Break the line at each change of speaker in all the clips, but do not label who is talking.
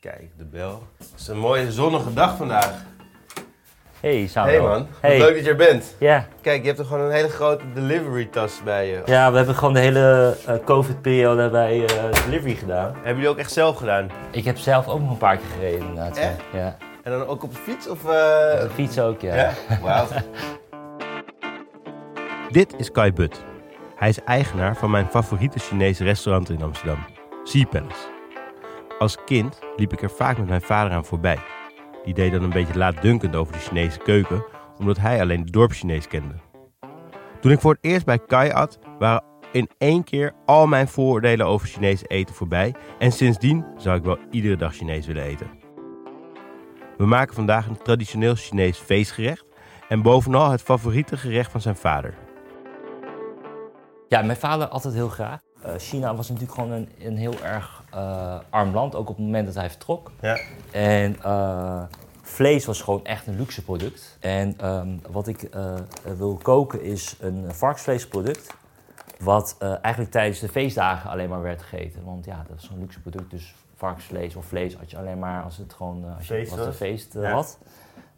Kijk, de bel. Het is een mooie zonnige dag vandaag.
Hey Samuel.
Hey man, Wat
Hey.
leuk dat je er bent.
Ja.
Kijk, je hebt er gewoon een hele grote delivery tas bij je.
ja, we hebben gewoon de hele eh, COVID-periode bij eh delivery gedaan.
Hebben jullie ook echt zelf gedaan?
Ik heb zelf ook nog een paar keer gereden inderdaad. ja.
Echt?
Ja.
En dan ook op de fiets of... eh,
De fiets ook, ja.
Wauw. Dit is Kai But. Hij is eigenaar van mijn favoriete Chinese restaurant in Amsterdam, Sea Palace. Als kind liep ik er vaak met mijn vader aan voorbij. Die deed dan een beetje laatdunkend over de Chinese keuken, omdat hij alleen de dorpschinees kende. Toen ik voor het eerst bij Kai at, waren in één keer al mijn vooroordelen over Chinese eten voorbij. En sindsdien zou ik wel iedere dag Chinees willen eten. We maken vandaag een traditioneel Chinees feestgerecht en bovenal het favoriete gerecht van zijn vader.
Ja, mijn vader altijd heel graag. Eh, China was natuurlijk gewoon een, een heel erg eh, arm land, ook op het moment dat hij vertrok.
Ja.
En eh, vlees was gewoon echt een luxe product. En ehm, wat ik eh, wil koken is een varkensvleesproduct. Wat eh, eigenlijk tijdens de feestdagen alleen maar werd gegeten. Want ja, dat is zo'n luxe product. Dus varkensvlees of vlees had je alleen maar als het gewoon eh, als je
Feest
als het een
was.
feest eh,
Ja.
had.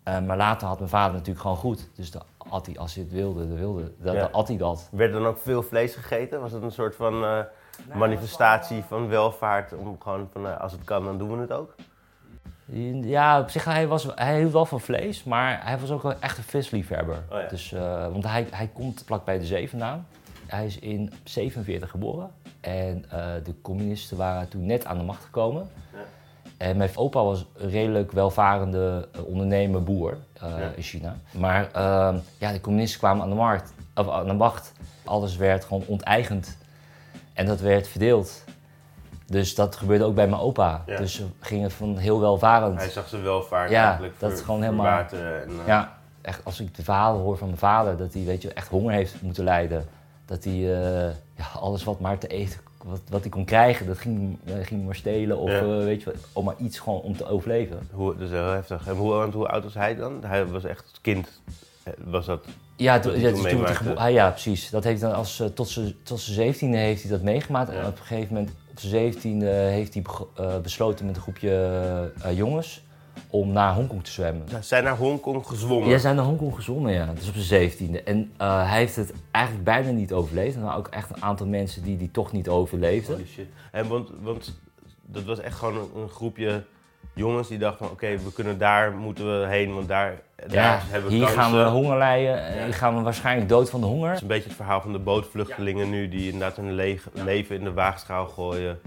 Eh, maar later had mijn vader natuurlijk gewoon goed. Dus dan at hij, als hij het wilde, dan, wilde, dan,
Ja.
dan at hij dat.
Werd er dan ook veel vlees gegeten? Was het een soort van eh,
Nou,
manifestatie van
eh,
welvaart? Om gewoon van, eh, als het kan, dan doen we het ook.
Ja, op zich, hij, was, hij hield wel van vlees, maar hij was ook wel echt een visliefhebber.
Oh ja.
dus, eh, want hij, hij komt vlakbij de zee vandaan. Hij is in 47 geboren. En eh, de communisten waren toen net aan de macht gekomen. En mijn opa was een redelijk welvarende eh, ondernemer, boer eh,
Ja.
in China. Maar eh, ja, de communisten kwamen aan de, markt, of aan de macht. Alles werd gewoon onteigend. En dat werd verdeeld. Dus dat gebeurde ook bij mijn opa.
Ja.
Dus ging het van heel welvarend.
Hij zag zijn welvaart
Ja,
eigenlijk
dat
voor,
is gewoon
voor
helemaal-
water. En, eh,
Ja, echt als ik de verhalen hoor van mijn vader, dat hij weet je, echt honger heeft moeten lijden. Dat hij eh, ja, alles wat maar te eten, wat, wat hij kon krijgen, dat ging, eh, ging hij maar stelen. Of
Ja.
eh, weet je, wat, om maar iets gewoon om te overleven.
Hoe, dat is heel heftig. En hoe, want hoe oud was hij dan? Hij was echt als kind. eh, Was dat...
Ja,
Dat
toen,
hij
ja,
toen
toen werd hij
meemaakte.
gebo- ah, ja, precies. Dat heeft hij dan als, eh, tot zijn tot zijn zeventiende heeft hij dat meegemaakt.
Ja.
En op een gegeven moment, op zijn zeventiende, heeft hij bego- eh, besloten met een groepje eh, jongens om naar Hongkong te zwemmen.
Ze Zijn naar Hongkong gezwommen?
Jij zijn naar Hongkong gezongen, ja. Dus op zijn zeventiende. En eh, hij heeft het eigenlijk bijna niet overleefd. En er waren ook echt een aantal mensen die die toch niet overleefden.
Holy shit. En want, want dat was echt gewoon een, een groepje jongens die dachten van oké, we kunnen daar moeten we heen, want daar,
Ja,
daar hebben we
hier
kansen.
gaan we honger lijden. en
Ja.
Hier gaan we waarschijnlijk dood van de honger.
Het is een beetje het verhaal van de bootvluchtelingen nu die inderdaad hun leeg- leven in de waagschaal gooien.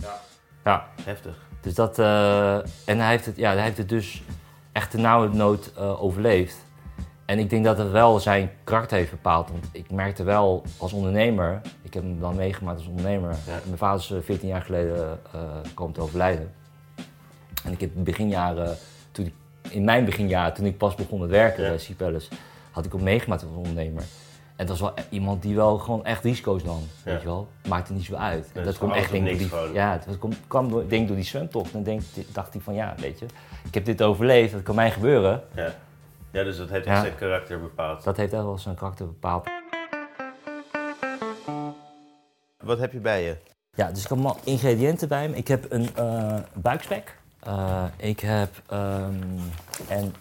Ja.
Heftig.
Dus dat, eh, en hij heeft, het, ja, hij heeft het dus echt de nauwe nood eh, overleefd. En ik denk dat het wel zijn karakter heeft bepaald. Want ik merkte wel als ondernemer, ik heb hem dan meegemaakt als ondernemer.
Ja.
Mijn vader is eh, 14 jaar geleden eh komen te overlijden. En ik heb beginjaren, toen ik- in mijn beginjaren, toen ik pas begon met werken
Ja.
bij Sea Palace, had ik hem meegemaakt als ondernemer. En dat was wel e- iemand die wel gewoon echt risico's nam,
Ja.
weet je wel. Maakte niet zo uit.
Nee,
dat
het
komt
is
echt
gewoon
denk ik
alles
door
of niks
die,
gewoon.
ja, dat komt, kwam door, denk door die zwemtocht. En denk, dacht hij van ja, weet je, ik heb dit overleefd, dat kan mij gebeuren.
Ja, ja dus dat heeft
Ja.
echt zijn karakter bepaald.
Dat heeft echt wel zijn karakter bepaald.
Wat heb je bij je?
Ja, dus ik heb allemaal ingrediënten bij me. Ik heb een eh, buikspek. Eh, ik heb ehm, en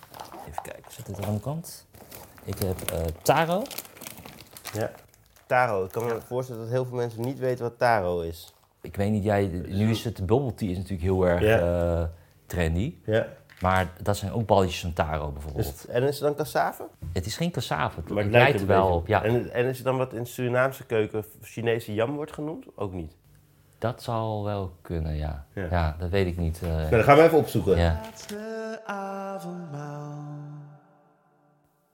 even kijken, zit dit er aan de kant? Ik heb eh, taro.
Ja. Taro, ik kan me voorstellen dat heel veel mensen niet weten wat taro is.
Ik weet niet, jij, nu is het bubble tea is natuurlijk heel erg
Ja.
eh, trendy.
Ja.
Maar dat zijn ook balletjes van taro bijvoorbeeld.
en is het dan cassave?
Het is geen cassave, het, het lijkt er wel op. Ja,
En, en is het dan wat in Surinaamse keuken Chinese jam wordt genoemd? Ook niet.
Dat zal wel kunnen, ja.
Ja.
Ja, dat weet ik niet. eh,
dat Nou, gaan we even opzoeken.
ja.
laatste avondmaal.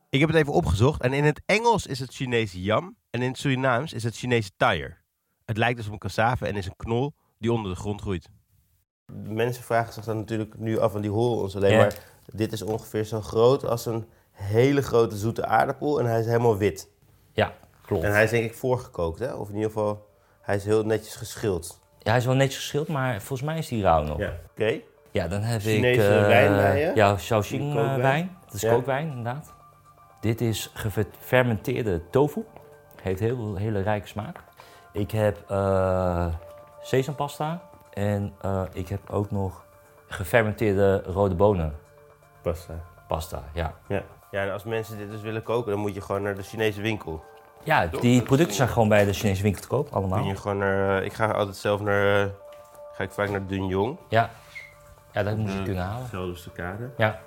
Ik heb het even opgezocht en in het Engels is het Chinese jam en in het Surinaams is het Chinese taier. Het lijkt dus op een cassave en is een knol die onder de grond groeit. Mensen vragen zich dan natuurlijk nu af, en die horen ons alleen
Ja.
maar. Dit is ongeveer zo groot als een hele grote zoete aardappel en hij is helemaal wit.
ja, klopt.
En hij is denk ik voorgekookt, hè? Of in ieder geval, hij is heel netjes geschild.
Ja, hij is wel netjes geschild, maar volgens mij is die rauw nog. Ja,
Oké.
dan heb
Chinese
ik... eh,
wijn bij je?
Ja, Shaoxing eh,
Kookwijn?
wijn. Dat is
Ja.
kookwijn, inderdaad. Dit is gefermenteerde tofu. Heeft heel, hele rijke smaak. Ik heb eh sesampasta. En eh, ik heb ook nog gefermenteerde rode bonen
Pasta.
pasta. Ja,
Ja. ja, en als mensen dit dus willen koken, dan moet je gewoon naar de Chinese winkel.
ja die producten zijn gewoon bij de Chinese winkel te koop
Kun
allemaal.
je gewoon naar, eh, ik ga altijd zelf naar, eh, ga ik vaak naar Dunjong.
Ja, ja dat moet je kunnen halen.
Zelfde stukade.
Ja,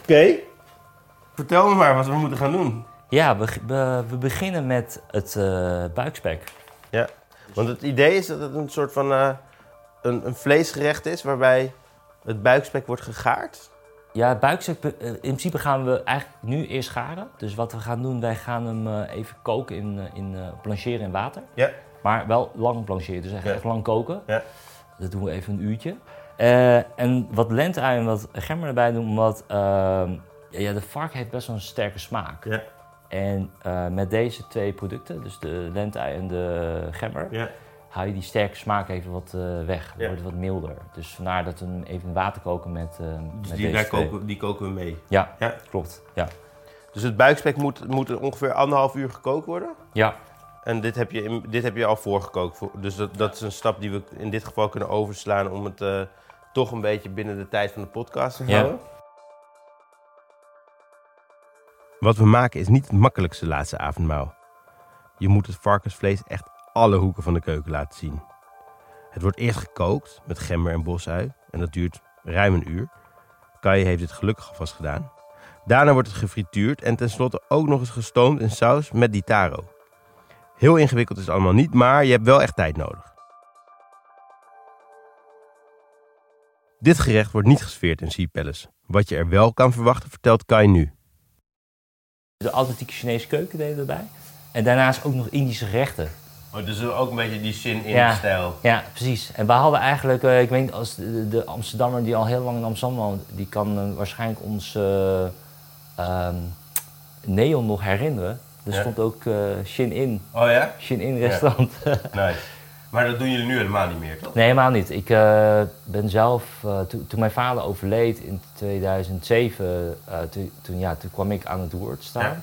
Oké. Vertel me maar wat we moeten gaan doen.
ja we, we, we beginnen met het eh, buikspek.
Ja, want het idee is dat het een soort van eh, een, een vleesgerecht is waarbij het buikspek wordt gegaard.
Ja, het buikspek, be- eh, in principe gaan we eigenlijk nu eerst garen. Dus wat we gaan doen, wij gaan hem eh, even koken in, eh, in eh, blancheren in water.
Ja.
Maar wel lang blancheren, dus echt,
Ja.
echt lang koken.
Ja.
Dat doen we even een uurtje. Eh, en wat lentei en wat gember erbij doen, omdat ehm, ja, de vark heeft best wel een sterke smaak.
Ja.
En eh, met deze twee producten, dus de lentei en de gember,
Ja. Dus
haal je die sterke smaak even wat eh, weg. Dan
Ja.
wordt het wat milder. Dus vandaar dat we hem even in water koken met, eh met
Dus
deze
die, daar
twee.
koken, die koken we mee.
Ja,
Ja.
klopt. Ja.
Dus het buikspek moet, moet ongeveer anderhalf uur gekookt worden.
Ja.
En dit heb je, in- dit heb je al voorgekookt. Voor- Dus dat, dat is een stap die we in dit geval kunnen overslaan om het eh, toch een beetje binnen de tijd van de podcast te
Ja.
houden. Wat we maken is niet het makkelijkste laatste avondmaal. Je moet het varkensvlees echt alle hoeken van de keuken laten zien. Het wordt eerst gekookt met gember en bosui en dat duurt ruim een uur. Kai heeft dit gelukkig alvast gedaan. Daarna wordt het gefrituurd en tenslotte ook nog eens gestoomd in saus met die taro. Heel ingewikkeld is het allemaal niet, maar je hebt wel echt tijd nodig. Dit gerecht wordt niet gesfeerd in Sea Palace. Wat je er wel kan verwachten, vertelt Kai nu.
De authentieke Chinese keuken deden we erbij. En daarnaast ook nog Indische gerechten.
Oh, dus ook een beetje die zin in
Ja.
stijl.
Ja, precies. En we hadden eigenlijk, eh, ik weet niet, als de, de Amsterdammer die al heel lang in Amsterdam woont, die kan eh, waarschijnlijk ons eh, ehm, neon nog herinneren. Er
Ja.
stond ook eh Shin In,
Oh ja?
Shin In restaurant.
Nice. Maar dat doen jullie nu helemaal niet meer, toch?
nee, helemaal niet. Ik eh, ben zelf, eh, to- toen mijn vader overleed in 2007, eh, to- toen, ja, toen kwam ik aan het roer te staan.
Ja.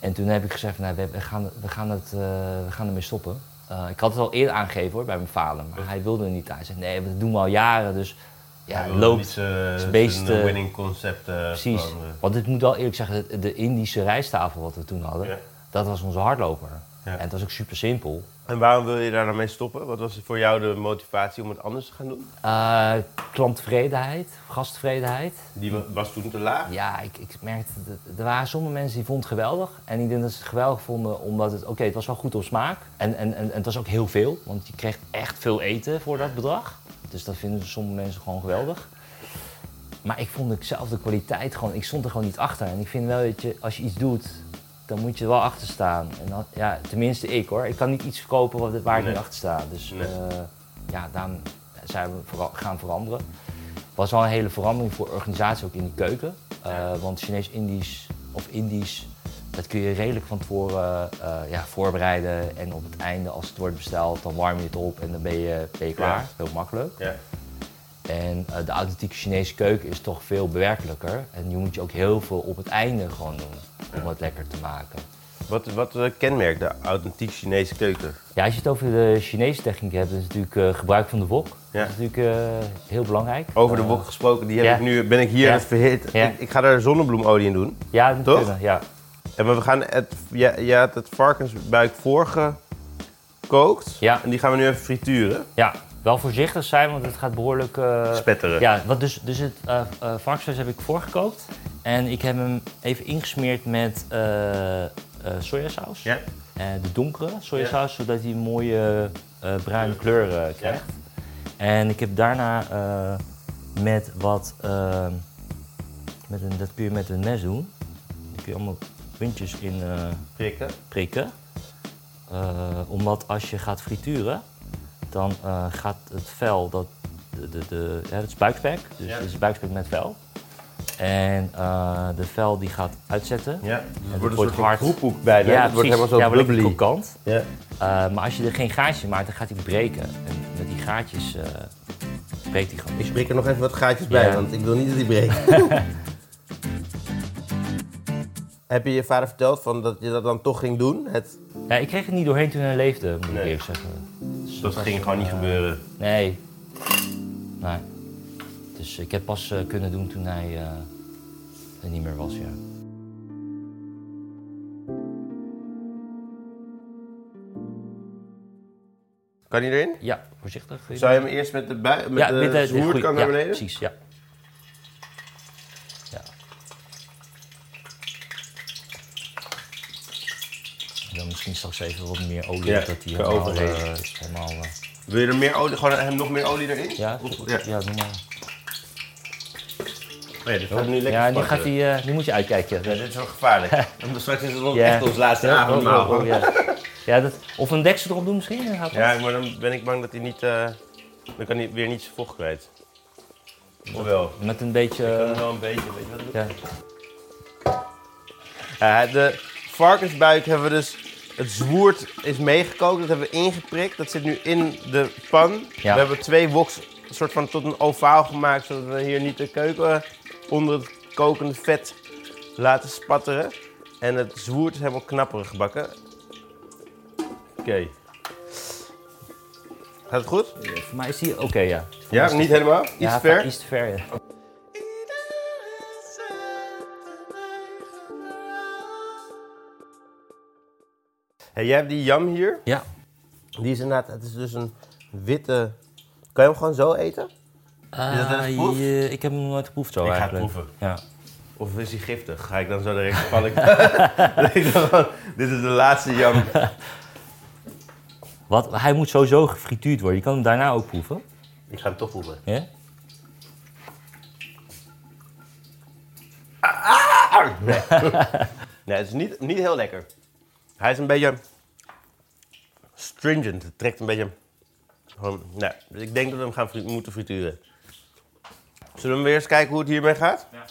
En toen heb ik gezegd, van, nou, we, we gaan, we, gaan het, eh, we gaan ermee stoppen. Eh, ik had het al eerder aangegeven hoor, bij mijn vader, maar hij wilde er niet aan. Hij zei, nee, dat doen we al jaren, dus ja, het loopt.
Zijn
beest, eh,
winning concept. eh,
Precies.
veranderen.
Want ik moet wel eerlijk zeggen, de, de Indische rijsttafel wat we toen hadden,
Ja.
dat was onze hardloper.
Ja.
En het was ook super simpel.
En waarom wil je daar nou mee stoppen? Wat was voor jou de motivatie om het anders te gaan doen?
Eh klanttevredenheid, gasttevredenheid.
Die wa- was toen te laag.
Ja, ik, ik merkte, dat- er waren sommige mensen die vonden het geweldig. En die deden dat ze het geweldig vonden omdat het, oké, het was wel goed op smaak. En, en, en, en het was ook heel veel, want je kreeg echt veel eten voor dat bedrag. Dus dat vinden sommige mensen gewoon geweldig. Maar ik vond ik zelf de kwaliteit gewoon, ik stond er gewoon niet achter. En ik vind wel dat je, als je iets doet, dan moet je er wel achter staan. En dan, ja, tenminste ik hoor. Ik kan niet iets verkopen wat- waar ik
Nee.
niet achter sta. Dus
Nee.
eh, ja, daarom zijn we vooral- gaan veranderen was wel een hele verandering voor organisatie ook in die keuken. Eh, want Chinees-Indisch of Indisch, dat kun je redelijk van tevoren eh, ja, voorbereiden. En op het einde, als het wordt besteld, dan warm je het op en dan ben je, ben je klaar. Heel makkelijk.
Ja.
En eh, de authentieke Chinese keuken is toch veel bewerkelijker. En je moet je ook heel veel op het einde gewoon doen om het lekker te maken.
Wat, wat eh, kenmerkt de authentiek Chinese keuken?
Ja, als je het over de Chinese techniek hebt, is het natuurlijk eh, gebruik van de wok.
Ja.
Dat is natuurlijk eh, heel belangrijk.
Over de
Eh,
wok gesproken, die heb
ja.
ik nu, ben ik hier
Ja.
aan het verhit.
Ja.
Ik, ik ga daar zonnebloemolie in doen.
Ja, dat moet
Toch?
kunnen, ja.
En we gaan het, ja, je had het varkensbuik voorgekookt.
Ja.
En die gaan we nu even frituren.
Ja, wel voorzichtig zijn, want het gaat behoorlijk... eh,
Spetteren.
Ja, wat dus, dus het eh eh, varkensvlees heb ik voorgekookt. En ik heb hem even ingesmeerd met eh, eh, sojasaus.
Ja.
Eh, de donkere sojasaus, zodat hij een mooie eh, bruine kleur eh, krijgt. En ik heb daarna eh, met wat... eh, met een, dat kun je met een mes doen. Daar kun je allemaal puntjes in... eh,
Prikken.
prikken. Eh, omdat als je gaat frituren, dan eh, gaat het vel, dat, de, de, de, ja, het is buikspek, dus
Ja.
het is buikspek met vel. En eh, de vel die gaat uitzetten.
Ja. Dus het
dat
wordt een
wordt
soort van
hard.
kroephoek bijna. het wordt
precies.
helemaal zo
ja, wordt lekker
bubbly.
krokant.
Ja.
Eh, maar als je er geen gaatjes in maakt, dan gaat hij breken. En met die gaatjes eh, breekt hij gewoon.
Ik prik er nog even wat gaatjes bij,
Ja.
want ik wil niet dat die breekt. Heb je je vader verteld van dat je dat dan toch ging doen? Het...
Ja, ik kreeg het niet doorheen toen hij leefde, moet
Nee. Dus
ik eerlijk zeggen.
Dat ging gewoon niet gebeuren.
Nee. Nee. Dus ik heb pas eh, kunnen doen toen hij eh, er niet meer was, ja.
Kan hij erin?
Ja, voorzichtig.
Zou je hem eerst met de, bui, met
ja,
de,
met eh, de-
zijn
goeie-
hoerkant naar
ja,
beneden?
precies, ja. ja. En dan misschien straks even wat meer olie,
Ja,
op, dat hij
qua
helemaal...
overheen.
eh, helemaal eh,
Wil je er meer olie, gewoon hem nog meer olie erin?
ja,
Of-
ja.
Oh ja.
doe maar.
Nee, dit gaat nu lekker
Ja, nu,
spartelen.
gaat die, eh, nu moet je uitkijken.
Ja, dit is wel gevaarlijk. Want straks is het wel
Ja.
echt ons laatste
Ja,
avondmaal.
oh, oh, oh, ja. Ja, dat, of een deksel erop doen misschien. eh, gaat dat?
Ja, maar dan ben ik bang dat hij niet... eh, dan kan hij weer niet zijn vocht kwijt. Hoewel.
Met een beetje...
Ik kan
eh,
hem wel een beetje, weet je wat ik bedoel?
ja.
Ja, de varkensbuik hebben we dus... Het zwoerd is meegekookt, dat hebben we ingeprikt. Dat zit nu in de pan. We hebben twee woks soort van tot een ovaal gemaakt... zodat we hier niet de keuken onder het kokende vet laten spatteren. En het zwoerd is helemaal knapperig gebakken. Oké. Gaat het goed?
Voor mij is die... Oké, ja.
Ja, niet helemaal. Iets
ja,
ver.
Iets te ver, ja.
Hey, jij hebt die jam hier.
Ja.
Die is inderdaad, het is dus een witte. Kan je hem gewoon zo eten? Is dat net geproefd?
Ah, je- ik heb hem nog nooit geproefd zo
Ik ga het
eigenlijk.
proeven.
Ja.
Of is hij giftig? Ga ik dan zo direct val ik- Dat ik dan gewoon- Dit is de laatste jam.
Wat, hij moet sowieso gefrituurd worden. Je kan hem daarna ook proeven.
Ik ga hem toch proeven.
Ja?
Nee, het is niet, niet heel lekker. Hij is een beetje stringent. Het trekt een beetje. Gewoon, nee, dus ik denk dat we hem gaan fri- moeten frituren. Zullen we weer eens kijken hoe het hiermee gaat? Ja.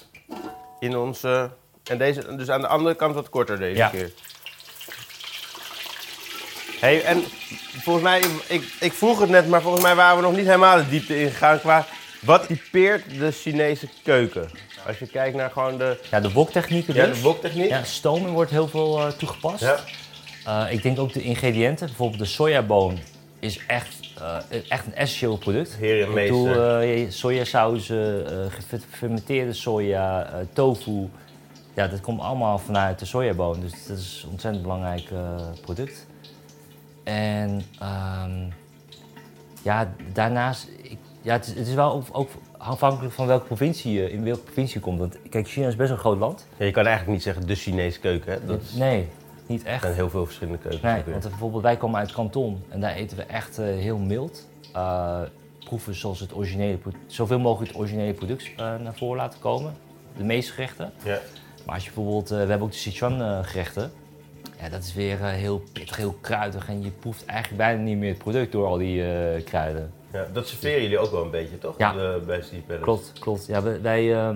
In onze. En deze, dus aan de andere kant wat korter deze
Ja.
keer. hey, en volgens mij, ik, ik vroeg het net, maar volgens mij waren we nog niet helemaal de diepte ingegaan qua wat typeert de Chinese keuken? Als je kijkt naar gewoon de,
ja, de woktechnieken
ja,
dus.
de woktechniek.
Ja, stomen wordt heel veel eh, toegepast.
Ja.
Eh, ik denk ook de ingrediënten. Bijvoorbeeld de sojaboon is echt, eh, echt een essentieel product.
Heer en
Ik
meester.
bedoel, eh, sojasaus, eh, eh, gefermenteerde soja, eh, tofu. Ja, dat komt allemaal vanuit de sojaboon. Dus dat is een ontzettend belangrijk eh, product. En ehm, ja, daarnaast... Ik, ja, het is, het is wel ook- ook afhankelijk van welke provincie je, in welke provincie je komt. Want kijk, China is best een groot land.
Ja, je kan eigenlijk niet zeggen de Chinese keuken. Hè? Dat
Nee, niet echt.
zijn heel veel verschillende keukens.
Nee,
ook weer.
want bijvoorbeeld wij komen uit Kanton en daar eten we echt eh, heel mild. Eh, proeven zoals het originele, pro- zoveel mogelijk het originele product eh, naar voren laten komen. De meeste gerechten.
ja.
Maar als je bijvoorbeeld, eh, we hebben ook de Sichuan eh, gerechten. Ja, dat is weer eh, heel pittig, heel kruidig en je proeft eigenlijk bijna niet meer het product door al die eh, kruiden.
Ja, dat serveren jullie ook wel een beetje, toch?
Ja.
De, bij Sea Palace.
Klopt, klopt. Ja, wij, wij, eh,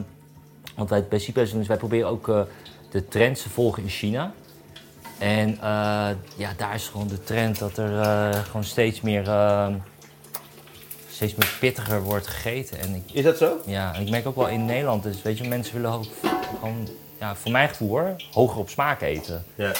want wij bij Cypress doen, is wij proberen ook eh, de trends te volgen in China. En eh, ja, daar is gewoon de trend dat er eh, gewoon steeds meer, eh, steeds meer pittiger wordt gegeten. En ik,
Is dat zo?
ja, en ik merk ook wel in Nederland, dus weet je, mensen willen ook gewoon, ja, voor mijn gevoel hoor, hoger op smaak eten.
Ja.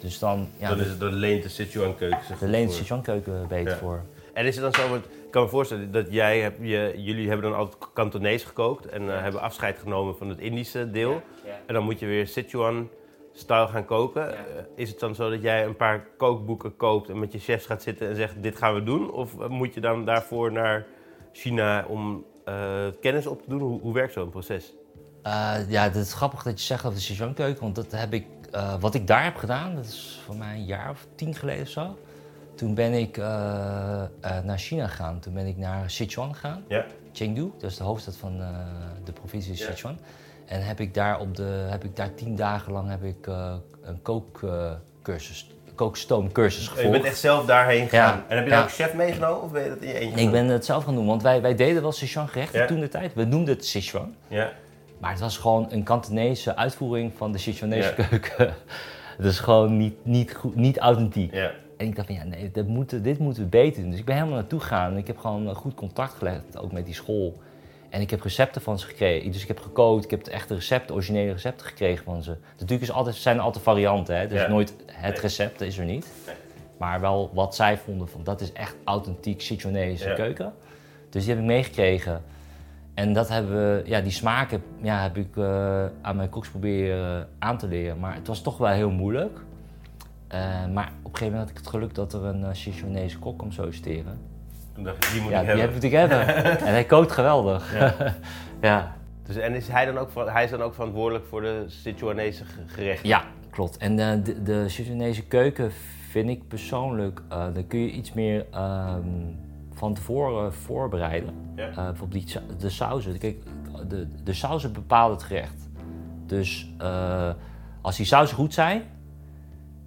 Dus dan, ja,
Dan is het, dan leent de Sichuan keuken zich
de
goed
Leens
voor.
Sichuan keuken beter
Ja.
voor.
En is het dan zo, want ik kan me voorstellen dat jij, hebt, je, jullie hebben dan altijd Kantonees gekookt en eh, hebben afscheid genomen van het Indische deel. En dan moet je weer Sichuan-style gaan koken. Eh, Is het dan zo dat jij een paar kookboeken koopt en met je chefs gaat zitten en zegt dit gaan we doen? Of eh, moet je dan daarvoor naar China om eh, kennis op te doen? Hoe, hoe werkt zo'n proces?
Eh, ja, het is grappig dat je zegt dat de Sichuan keuken, want dat heb ik, eh, wat ik daar heb gedaan, dat is voor mij een jaar of tien geleden of zo. Toen ben ik eh, eh, naar China gegaan, toen ben ik naar Sichuan gegaan,
Ja.
Chengdu, dat is de hoofdstad van eh, de provincie Sichuan. En heb ik daar, op de, heb ik daar tien dagen lang heb ik, eh, een kookcursus, kookstoomcursus
Oh, Je
gevolgd.
bent echt zelf daarheen gegaan. En heb je daar
Ja.
ook chef meegenomen of ben je dat in je eentje?
Nee, Ik ben het zelf gaan doen, want wij, wij deden wel Sichuan gerechten
Ja.
toen de tijd. We noemden het Sichuan.
gedaan? Ja.
Maar het was gewoon een Kantonese uitvoering van de Sichuanese
Ja.
keuken. Dat is gewoon niet, niet, goed, niet authentiek.
ja.
En ik dacht van ja, nee, dat moeten, dit moeten we beter doen. Dus ik ben helemaal naartoe gegaan en ik heb gewoon eh, goed contact gelegd, ook met die school. En ik heb recepten van ze gekregen. Dus ik heb gekookt, ik heb de echte recepten, originele recepten gekregen van ze. Natuurlijk is altijd, zijn er altijd varianten, hè? dus
Ja.
nooit het recept is er niet. Maar wel wat zij vonden van dat is echt authentiek Sichuanese
Ja.
keuken. Dus die heb ik meegekregen. En dat hebben we, ja, die smaken ja, heb ik eh, aan mijn koks proberen eh, aan te leren. Maar het was toch wel heel moeilijk. Eh, maar op een gegeven moment had ik het geluk dat er een eh, Sichuanese kok kwam solliciteren.
Toen dacht ik, die moet
Ja,
ik
die
hebben.
heb ik hebben. en hij kookt geweldig. Ja. ja.
Dus, en is hij, dan ook, ver- hij is dan ook verantwoordelijk voor de Sichuanese ge- gerechten?
Ja, klopt. En eh, de, de Sichuanese keuken vind ik persoonlijk, eh daar kun je iets meer ehm, van tevoren voorbereiden.
Ja.
Eh, bijvoorbeeld die, sa- de sauzen. Kijk, de, de sauzen bepalen het gerecht. Dus eh, als die sauzen goed zijn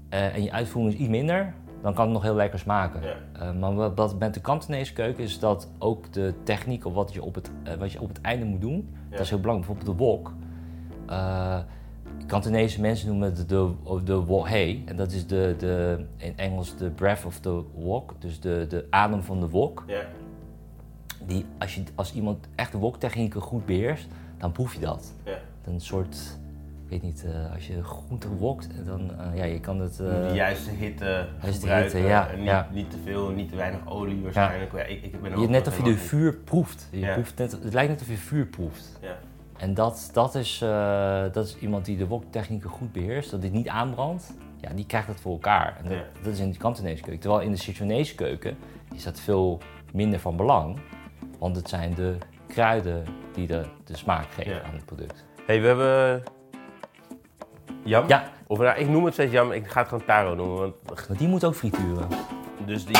eh, en je uitvoering is iets minder, dan kan het nog heel lekker smaken.
Ja.
Eh, maar wat, wat met de Kantonese keuken is dat ook de techniek of wat je op het, eh, wat je op het einde moet doen, dat is heel belangrijk. Bijvoorbeeld de wok. Eh, Kantonese mensen noemen het de, de wok-hei. En dat is de, de, in Engels de breath of the wok. Dus de, de adem van de wok.
Ja.
Die, als, je, als iemand echt de woktechnieken goed beheerst, dan proef je dat.
ja.
Een soort, ik weet niet, eh, als je goed wokt, dan eh, ja, je kan het... eh,
de juiste hitte
juiste
gebruiken.
hitte, ja,
en niet,
ja.
niet te veel, niet te weinig olie waarschijnlijk. Ja. ik, ik ben er
je,
ook
net
nog
of je de
helemaal niet-
vuur proeft. Je
Ja.
proeft net, het lijkt net of je vuur proeft.
Ja.
En dat, dat, is, eh, dat is iemand die de woktechnieken goed beheerst, dat dit niet aanbrandt. Ja, die krijgt dat voor elkaar. En dat,
Ja.
dat is in de Kantonese keuken. Terwijl in de Sichuanese keuken is dat veel minder van belang. Want het zijn de kruiden die de, de smaak geven
Ja.
aan het product.
hey, we hebben... Jam?
Ja,
Of, nou, ik noem het steeds jam, ik ga het gewoon taro noemen. Want,
maar die moet ook frituren.
dus die,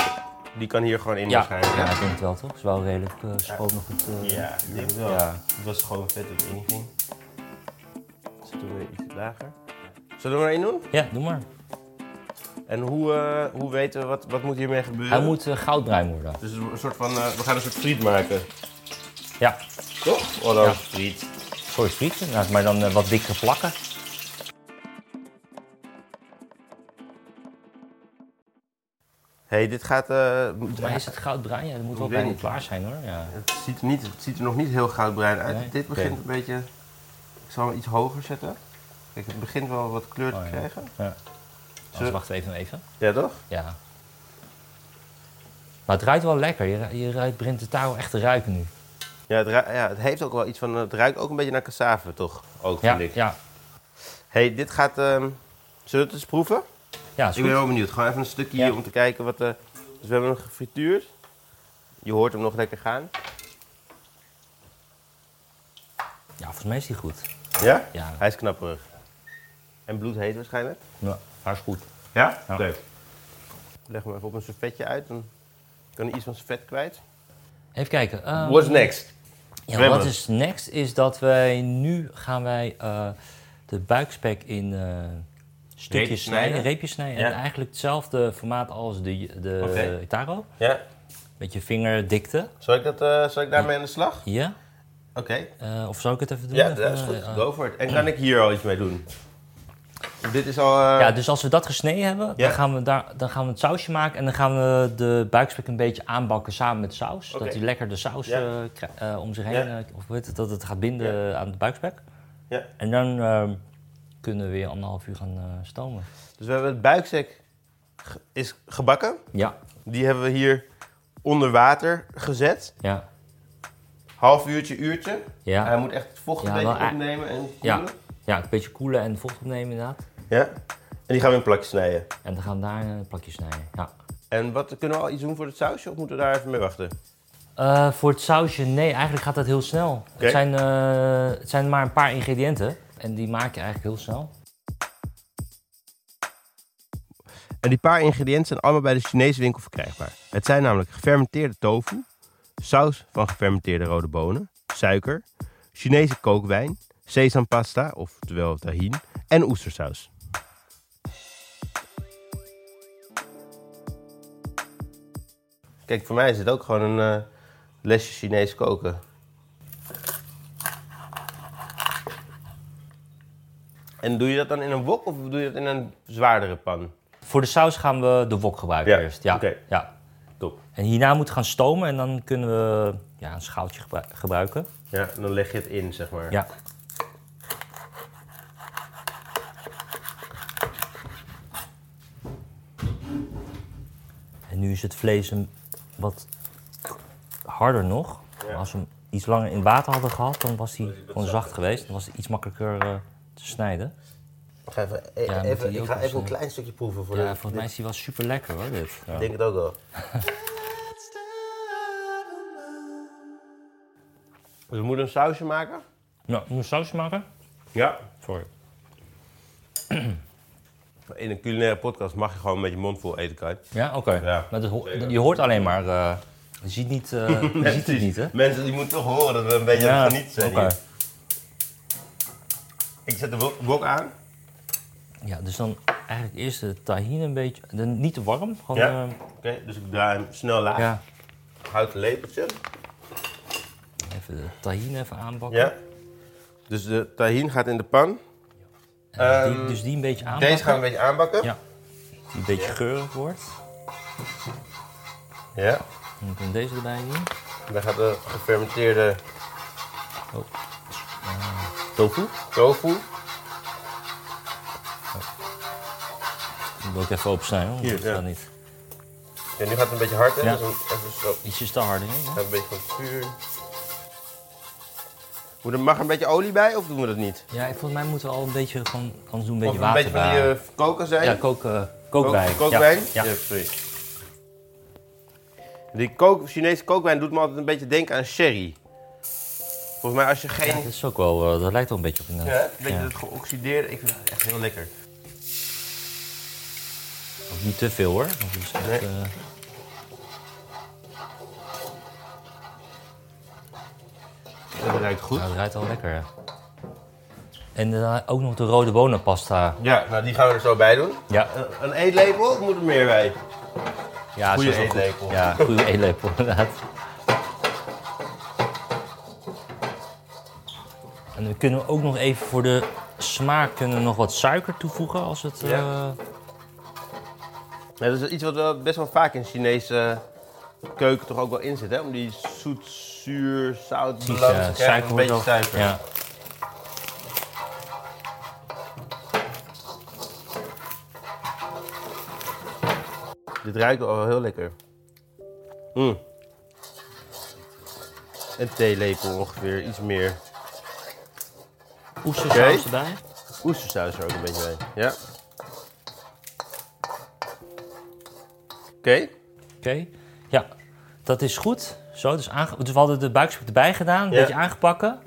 die kan hier gewoon in
Ja,
waarschijnlijk.
ja, ik denk het wel toch? Is wel redelijk eh schoon nog goed. eh,
Ja, ik denk het wel.
Ja.
Het was gewoon vet dat het inging. Zitten we iets lager? Zullen we er één doen?
ja, doe maar.
En hoe, eh, hoe weten we wat, wat moet hiermee gebeuren?
Hij moet eh, goudbruin worden.
Dus een soort van, eh, we gaan een soort friet maken.
Ja,
Toch? Oh, dan
Ja.
friet.
sorry frieten, nou, maar dan eh, wat dikkere plakken.
hey, dit gaat... eh, moet-
Maar is het goudbruin? Ja, dat moet wel
weet
bijna
niet.
klaar zijn hoor. Ja.
Het ziet, er niet, het ziet er nog niet heel goudbruin uit.
Nee?
Dit begint een beetje... Ik zal hem iets hoger zetten. Kijk, het begint wel wat kleur te
Oh, ja.
krijgen.
Ja.
Zo-
Dus wacht even, even.
Ja, toch?
Ja. Maar het ruikt wel lekker. Je, ru- je ruikt, begint de touw echt te ruiken nu.
Ja het, ru- ja, het heeft ook wel iets van... Het ruikt ook een beetje naar cassave, toch? Ook,
Ja,
vind ik.
ja.
hey, dit gaat... ehm, zullen we het eens proeven?
Ja, is
Ik ben
goed.
heel benieuwd. Gewoon even een stukje
Ja.
hier om te kijken wat... eh dus we hebben hem gefrituurd. Je hoort hem nog lekker gaan.
ja, volgens mij is die goed.
Ja?
Ja.
Hij is knapperig. En bloedheet waarschijnlijk.
Ja, hij is goed.
Ja?
Ja.
Leuk. Leg hem even op een servetje uit. Dan kan hij iets van servet kwijt.
Even kijken. ehm,
What's next?
ja,
zwemmen?
wat is next is dat wij nu gaan wij eh, de buikspek in eh, stukjes
Reepjes
snijden,
snijden?
reepjes snijden.
Ja.
En eigenlijk hetzelfde formaat als de, de
Oké.
taro.
Ja.
Met je vingerdikte.
Zal ik, dat, eh, zal ik daarmee aan de slag?
Ja.
Oké.
Eh, of zou ik het even doen?
Ja,
Even,
dat is
eh,
goed.
eh,
Go for it. En kan ik hier al iets mee doen? Dit is al... eh,
Ja, dus als we dat gesneden hebben,
Ja.
dan, gaan we daar, dan gaan we het sausje maken en dan gaan we de buikspek een beetje aanbakken samen met saus.
Oké.
Dat die lekker de saus
Ja.
eh, kri- eh, om zich heen,
Ja.
eh, of hoe heet het, dat het gaat binden eh, aan de buikspek.
Ja.
En dan ehm, kunnen we weer anderhalf uur gaan eh, stomen.
Dus we hebben het buiksek ge- is gebakken.
Ja.
Die hebben we hier onder water gezet.
Ja.
Half uurtje, uurtje.
Ja.
Hij moet echt het vocht een
Ja,
beetje
wel, eh,
opnemen en
ja.
koelen.
Ja, een beetje koelen en vocht opnemen inderdaad.
Ja. En die gaan we in plakjes snijden.
En dan gaan we daar eh, een plakje snijden. Ja.
En wat, kunnen we al iets doen voor het sausje of moeten we daar even mee wachten?
Eh, voor het sausje, nee, eigenlijk gaat dat heel snel. Het, zijn, eh, het zijn maar een paar ingrediënten en die maak je eigenlijk heel snel.
En die paar ingrediënten zijn allemaal bij de Chinese winkel verkrijgbaar. Het zijn namelijk gefermenteerde tofu, saus van gefermenteerde rode bonen, suiker, Chinese kookwijn, sesampasta, oftewel tahin, en oestersaus. Kijk, voor mij is het ook gewoon een eh, lesje Chinees koken. En doe je dat dan in een wok of doe je dat in een zwaardere pan?
Voor de saus gaan we de wok gebruiken
Ja,
eerst. Ja.
oké.
ja.
Top.
En hierna moet gaan stomen en dan kunnen we ja, een schaaltje gebru- gebruiken.
Ja, en dan leg je het in, zeg maar.
Ja. En nu is het vlees een wat harder nog.
Ja.
Als we hem iets langer in het water hadden gehad, dan was die gewoon zacht geweest. Dan was hij iets makkelijker eh, te snijden.
Ik ga even, e-
Ja, moet
even,
die
ik
ook
ga
eens,
even een
eh,
klein stukje proeven voor
Ja,
de...
volgens mij is die wel super lekker hoor, dit.
Ik denk het ook wel.
Dus we moeten een sausje maken?
Nou, moet saus maken?
Ja.
Sorry.
In een culinaire podcast mag je gewoon met je mond vol eten, Kai.
Ja, oké.
Ja,
Maar dat ho- je hoort alleen maar, eh, je ziet, niet, eh, je ziet het niet, hè?
Mensen die moeten toch horen dat we een beetje aan het genieten zijn
oké.
hier. Ik zet de wok- wok aan.
Ja, dus dan eigenlijk eerst de tahine een beetje, de- niet te warm, gewoon...
Ja.
eh,
Oké, dus ik draai hem snel laag.
ja.
Houten lepeltje.
Even de tahine even aanbakken.
Ja. Dus de tahin gaat in de pan.
En die- dus die een beetje aanbakken.
Ehm, Deze gaan we een beetje aanbakken.
Ja. Die een beetje geurig wordt.
Ja.
Dan moet ik deze erbij doen.
Dan gaat de gefermenteerde
Oh. Tofu.
tofu.
Die wil ik even open zijn, hoor.
Hier,
dat
ja.
kan niet.
Ja, nu gaat het een beetje hard, hè?
Ja.
Dus een- even zo.
Ietsjes te hard, hè?
Gaat een beetje van het vuur. Moet er, mag er een beetje olie bij of doen we dat niet?
Ja, ik- volgens mij moeten we al een beetje gewoon, anders doen we een
Of
beetje
een
water
beetje van
bij.
die eh, koken zijn?
ja, kook, eh, kookwijn.
Kookwijn?
Ja. ja.
sorry. Die kook, Chinese kookwijn doet me altijd een beetje denken aan sherry. Volgens mij als je geen...
Dat is ook wel, eh, dat lijkt wel een beetje op een... eh,
Ja, een beetje
ja.
dat geoxideerde. Ik vind het echt heel lekker.
Ook niet te veel hoor. want het is echt,
Nee.
eh,
Dat ruikt goed.
nou, het ruikt al lekker. ja. En eh, ook nog de rode bonenpasta.
Ja, nou die gaan we er zo bij doen.
Ja.
Een, een eetlepel of moet er meer bij?
Ja,
Goeie
zo is ook goed.
eetlepel.
Ja, goede eetlepel inderdaad. En dan kunnen we ook nog even voor de smaak kunnen we nog wat suiker toevoegen als het... eh,
Ja. Ja, dat is iets wat wel best wel vaak in Chinese keuken toch ook wel in zit, hè? Om die zoet, zuur, zout,
precies,
balans
ja,
te krijgen.
suiker
Een
wordt
beetje
wel-
suiker.
Ja.
Dit ruikt al heel lekker. Mm. Een theelepel ongeveer, iets meer.
Oestersaus
Oké.
erbij.
Oestersaus er ook een beetje bij. Ja. Oké.
Oké, ja, dat is goed. Zo, dus, aange- dus we hadden de buikspier erbij gedaan, een
Ja.
beetje aangepakken.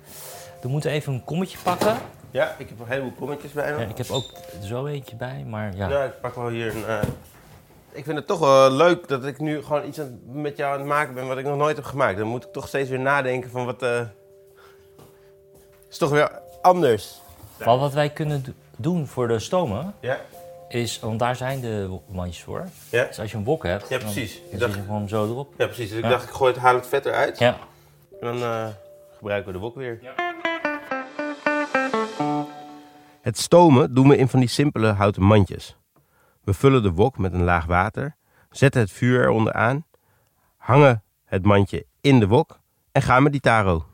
Dan moeten we even een kommetje pakken.
Ja, ik heb een heleboel kommetjes bij me.
Ja, ik heb ook zo eentje bij, maar ja.
Ja, ik pak wel hier een. eh, Ik vind het toch wel leuk dat ik nu gewoon iets aan- met jou aan het maken ben wat ik nog nooit heb gemaakt. Dan moet ik toch steeds weer nadenken van wat. eh, Is toch weer anders.
Maar wat wij kunnen do- doen voor de stomen
Ja,
is, want daar zijn de wo- mandjes voor.
ja.
Dus als je een wok hebt,
Ja,
dan-
precies.
dan
Ik
zet
dacht-
je hem gewoon zo erop.
ja precies. Dus ik
Ja.
dacht, ik gooi het, haal het vet eruit.
Ja,
En dan eh, gebruiken we de wok weer. Het stomen doen we in van die simpele houten mandjes. We vullen de wok met een laag water, zetten het vuur eronder aan, hangen het mandje in de wok en gaan met die taro.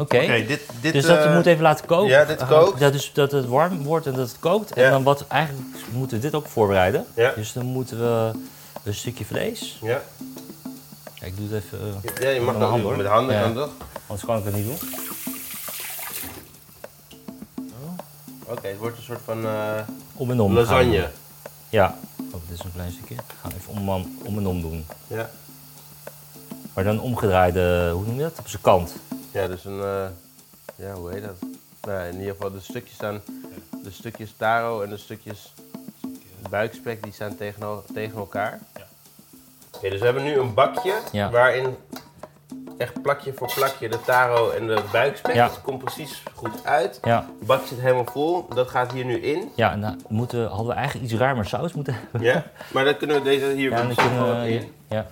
oké.
dit, dit, eh,
Dus dat moet even laten koken.
ja, dit kookt.
Dat, dus, dat het warm wordt en dat het kookt.
Ja.
En dan wat, eigenlijk moeten we dit ook voorbereiden.
Ja.
Dus dan moeten we een stukje vlees.
Ja,
Ja, ik doe het even, eh,
ja je mag
Met
dat
handen,
doen.
hoor.
met de handen
Ja.
kan toch?
anders kan ik het niet doen.
Oké, het wordt een soort van eh,
Om en om. gaan
lasagne.
doen. Ja. Oh, dit is een klein stukje. Ik ga even om, om, om en om doen.
Ja.
Maar dan omgedraaide, hoe noem je dat? Op zijn kant.
ja, dus een, eh, ja, hoe heet dat? Nou, in ieder geval de stukjes staan, de stukjes taro en de stukjes buikspek die staan tegen, el- tegen elkaar. Oké, dus we hebben nu een bakje
Ja.
waarin echt plakje voor plakje de taro en de buikspek,
Ja.
dat komt precies goed uit.
Ja.
Het bakje zit helemaal vol, dat gaat hier nu in.
Ja, en daar moeten, we- hadden we eigenlijk iets ruimer saus moeten hebben.
Ja, maar dan kunnen we deze hier
Ja, dan
precies
kunnen
gewoon
we,
in.
eh, ja.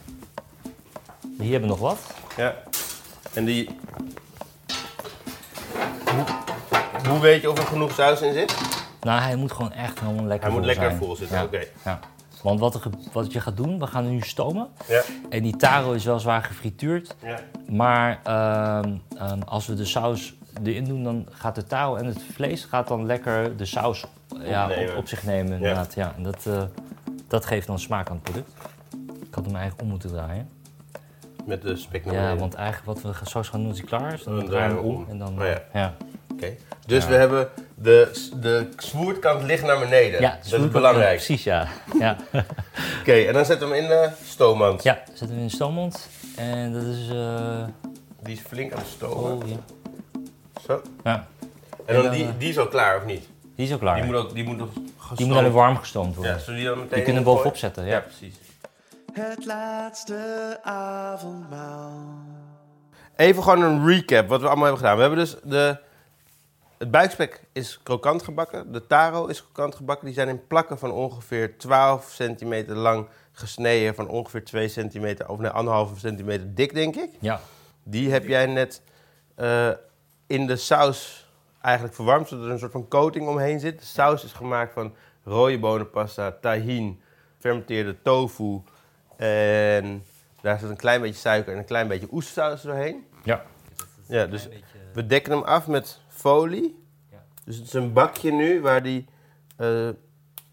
Hier hebben we nog wat.
Ja. En die. Hoe, hoe weet je of er genoeg saus in zit?
Nou, hij moet gewoon echt helemaal lekker
Hij moet
vol
lekker
zijn.
vol zitten,
ja.
oké.
Ja. Want wat, er ge- wat je gaat doen, we gaan nu stomen.
Ja.
En die taro is wel zwaar gefrituurd.
Ja.
Maar ehm, ehm, als we de saus erin doen, dan gaat de taro en het vlees gaat dan lekker de saus ja,
Opnemen.
op, op zich nemen. Inderdaad. Ja. en dat, eh, dat geeft dan smaak aan het product. Ik had hem eigenlijk om moeten draaien.
Met de spek naar
Ja,
beneden.
want eigenlijk wat we gaan- straks gaan doen als hij klaar is, dan
Dan
draaien we
draaien we
om.
om.
En dan,
Oh ja.
ja.
Oké. Dus we hebben de, de zwoerdkant ligt naar beneden.
Ja,
dat
goed.
is belangrijk. Oké,
Precies, ja. ja.
en dan zetten we hem in de stoommand.
Ja, zetten we in de stoommond. En dat is... eh
Die is flink aan het stomen.
oh, ja.
Zo.
ja.
En
En
dan
dan,
die,
eh,
die is al klaar, of niet?
Die is ook klaar.
Die moet ook die moet nog
die moet alleen warm gestoomd worden.
Ja, zullen die dan meteen
die kunnen we
ingooien?
bovenop zetten, ja.
Ja, precies.
Het laatste avondmaal.
Even gewoon een recap wat we allemaal hebben gedaan. We hebben dus de... Het buikspek is krokant gebakken. De taro is krokant gebakken. Die zijn in plakken van ongeveer 12 centimeter lang gesneden. Van ongeveer 2 centimeter, of nee, anderhalve centimeter dik, denk ik.
Ja.
Die heb jij net eh, in de saus eigenlijk verwarmd, zodat er een soort van coating omheen zit. De saus is gemaakt van rode bonenpasta, tahin, fermenteerde tofu en daar zit een klein beetje suiker en een klein beetje oestsaus doorheen.
Ja.
Ja, dus we dekken hem af met folie.
Ja.
Dus het is een bakje nu waar die, eh,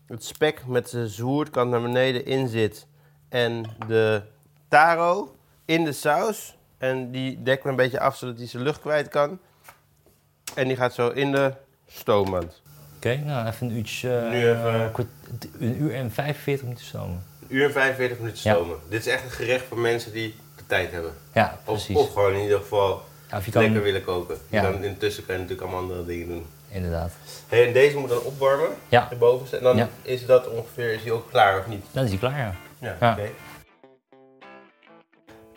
het spek met zijn zwoerdkant naar beneden in zit. En de taro in de saus. En die dekken we een beetje af zodat hij zijn lucht kwijt kan. En die gaat zo in de stoommand.
Oké, nou even een uurtje... eh,
Nu even-
een kwart- Een uur en 45 minuten stomen.
Een uur en 45 minuten
Ja.
stomen. Dit is echt een gerecht voor mensen die de tijd hebben.
Ja,
Of,
precies.
of gewoon in ieder geval
Ja, of je kan-
lekker willen koken.
Ja.
Dan intussen kan je natuurlijk allemaal andere dingen doen.
Inderdaad.
Hey, en deze moet dan opwarmen.
Ja.
De bovenste. En dan
Ja.
is dat ongeveer, is die ook klaar of niet?
Dan is hij klaar, ja.
Ja.
Ja.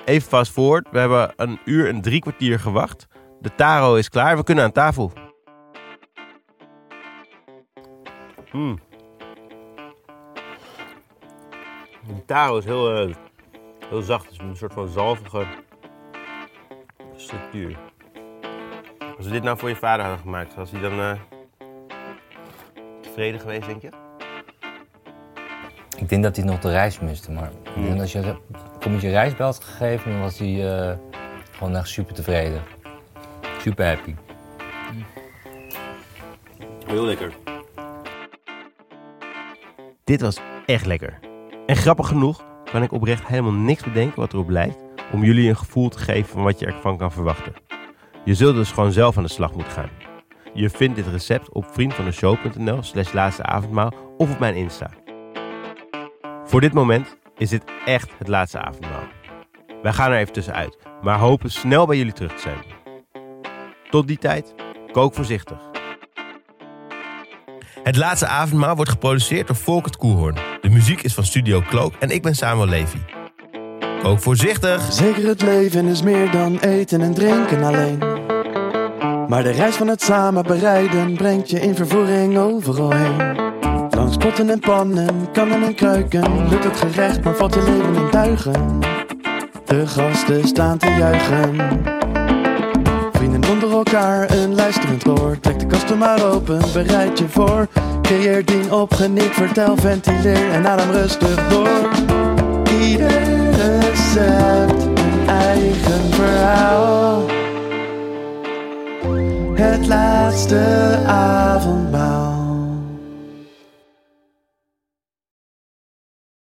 Even vast voort. We hebben een uur en drie kwartier gewacht. De taro is klaar. We kunnen aan tafel. Mm. Die taro is heel, eh, heel zacht. Het is een soort van zalvige structuur. Als we dit nou voor je vader hadden gemaakt, was hij dan eh, tevreden geweest, denk je?
Ik denk dat hij nog de reis miste, maar ik denk als je re- Commetje rijstbel had gegeven, dan was hij eh, gewoon echt super tevreden. Super happy.
Heel lekker. Dit was echt lekker. En grappig genoeg kan ik oprecht helemaal niks bedenken wat erop lijkt om jullie een gevoel te geven van wat je ervan kan verwachten. Je zult dus gewoon zelf aan de slag moeten gaan. Je vindt dit recept op vriendvandeshow.nl slash laatsteavondmaal of op mijn Insta. Voor dit moment is dit echt het laatste avondmaal. Wij gaan er even tussenuit, maar hopen snel bij jullie terug te zijn. Tot die tijd, kook voorzichtig. Het laatste avondmaal wordt geproduceerd door Volkert Koehoorn. De muziek is van Studio Cloak en ik ben Samuel Levy. Kook voorzichtig!
Zeker het leven is meer dan eten en drinken alleen. Maar de reis van het samen bereiden brengt je in vervoering overal heen. Langs potten en pannen, kannen en kruiken. Lukt het gerecht, maar valt je leven in duigen. De gasten staan te juichen. Vrienden onder elkaar, een luisterend oor. Trek de kasten maar open, bereid je voor. Creëer ding op, geniet, vertel, ventileer en adem rustig door. Ieder recept een eigen verhaal. Het laatste avondmaal.